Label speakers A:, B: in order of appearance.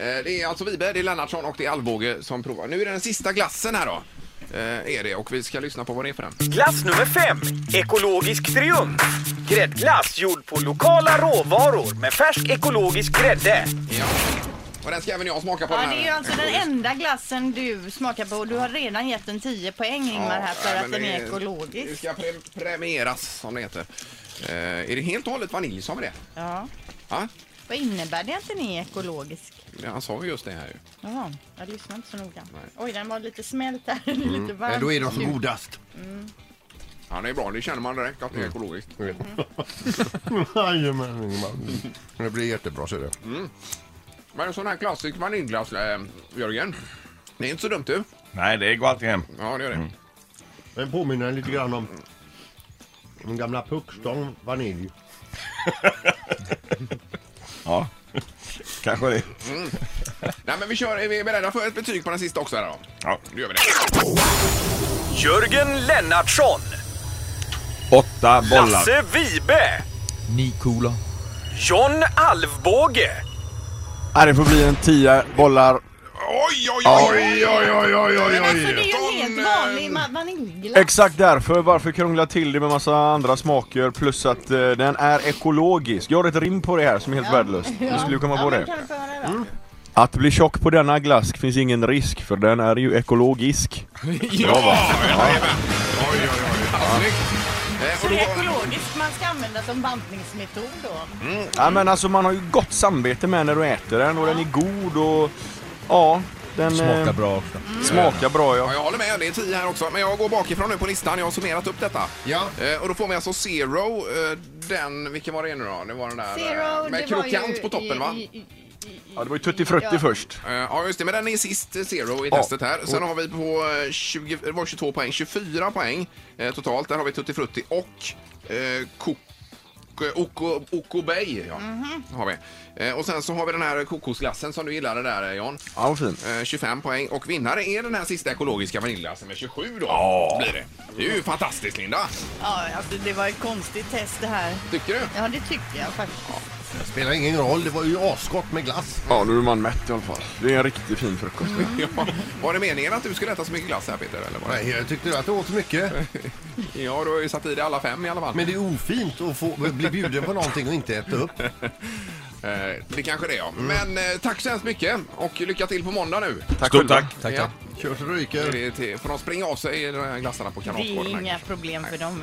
A: Eh, Det är alltså Vibe, det är Lennartsson och det är Alvbåge som provar. Nu är det den sista glassen här då. Eh, Är det och vi ska lyssna på vad det är för den.
B: Glass nummer 5. Ekologisk triumf. Gräddglass gjord på lokala råvaror med färsk ekologisk grädde.
A: Ja. Och den ska även jag smaka på.
C: Ja,
A: den här.
C: det är ju alltså den enda glassen du smakar på och du har redan gett en 10 poäng Ingmar här för
A: nej, men
C: att den är
A: det- Det
C: ekologisk.
A: ska pre premieras som det heter. Eh, är det helt och hållet vanilj som är det?
C: Ja.
A: Ja,
C: Vad innebär det att den är ekologisk?
A: han sa ju just det här ju.
C: Jaha, jag lyssnar inte så noga.
A: Nej. Mm.
C: Oj, den var lite smält här. Det är lite varmt.
D: Men då är de som godast.
A: Ja, det är bra. Det känner man direkt att det är
E: Mm.
A: ekologiskt.
D: Jajamän, Ingmar. Det blir jättebra, ser du.
A: Men en sån här klassisk vaniljglass, eh, Jörgen. Det är inte så dumt du.
E: Nej, det går alltid hem. Mm.
A: Ja, det gör det.
D: Den påminner lite grann om den gamla puckstång vanilj.
E: Ja, kanske det.
A: Nej, men vi kör. Är vi beredda för ett betyg på den sista också här då?
E: Ja.
A: Då gör vi det.
B: Jörgen Lennartsson.
E: Åtta bollar.
B: Lasse Vibe.
F: Nikola.
B: John Alvbåge.
F: Ja, det får bli en tia bollar.
A: Oj, oj, oj! oj, oj, oj, oj,
C: Men alltså det är ju en
A: Tom,
C: helt
A: eh,
C: vanlig ma- vaniljglass.
F: Exakt därför, varför krångla till det med massa andra smaker plus att eh, den är ekologisk. Jag har ett rim på det här som är helt värdelöst. Du skulle komma
C: ja,
F: på
C: men
F: det.
C: Kan vi få höra
A: Mm,
C: då?
F: Att bli tjock på denna glask finns ingen risk för den är ju ekologisk.
A: Ja, jajamän. Oj, oj, oj. Ja, Snyggt. Eh,
C: Så
A: och då-
C: det är ekologiskt man ska använda som bantningsmetod då?
A: Mm.
F: Ja men alltså man har ju gott samvete med när du äter den och den är god och ja, den
G: Smakar
F: eh,
G: bra också.
F: smakar bra
A: Ja,
F: ja.
A: jag håller med, det är 10 här också. Men jag går bakifrån nu på listan, jag har summerat upp detta.
D: Ja.
A: Eh, och då får vi alltså Zero, eh, den, vilken var det nu då? Det var den där
C: Zero,
A: eh, med
C: det var
A: krokant
C: ju
A: på toppen
C: i-
A: va?
C: i- i- i-
F: Ja det var ju tutti frutti
C: Ja.
F: först.
A: Eh, Ja just det, men den är sist eh, Zero i
F: Ja.
A: testet här. Sen har vi på eh, 20, det var 22 poäng, 24 poäng eh, totalt. Där har vi Tutti Frutti och eh, ko, ko- Oko, Oko Bay. Ja.
C: Mhm.
A: Har vi. Eh, och sen så har vi den här kokosglassen som du gillade där eh, Jan.
F: Ja vad fin.
A: Eh, 25 poäng och vinnare är den här sista ekologiska vaniljglassen med 27 då. Ja. Blir det. det är ju fantastiskt Linda,
C: Ja, alltså det var ett konstigt test det här.
A: tycker du?
C: Ja, det tycker jag faktiskt.
D: Spelar ingen roll, det var ju asgott med glass.
F: Ja nu är man mätt i alla fall. Det är en riktigt fin frukost.
A: Ja. Var det meningen att du skulle äta så mycket glass här Peter? Eller var det?
D: Nej, jag tyckte att det åt mycket.
A: Ja, du har ju satt i dig alla fem i alla fall.
D: Men det är ofint att få, bli bjuden på någonting och inte äta upp.
A: Eh, det kanske det är, ja. Men eh, tack så hemskt mycket och lycka till på måndag nu.
F: Tack
E: Stort tack.
G: Tack,
A: Ja.
G: tack.
D: Kör så det
A: Det
D: ryker.
A: är till- Får de springa av sig de här glassarna på
C: Det är
A: kanalgården?
C: inga problem för dem.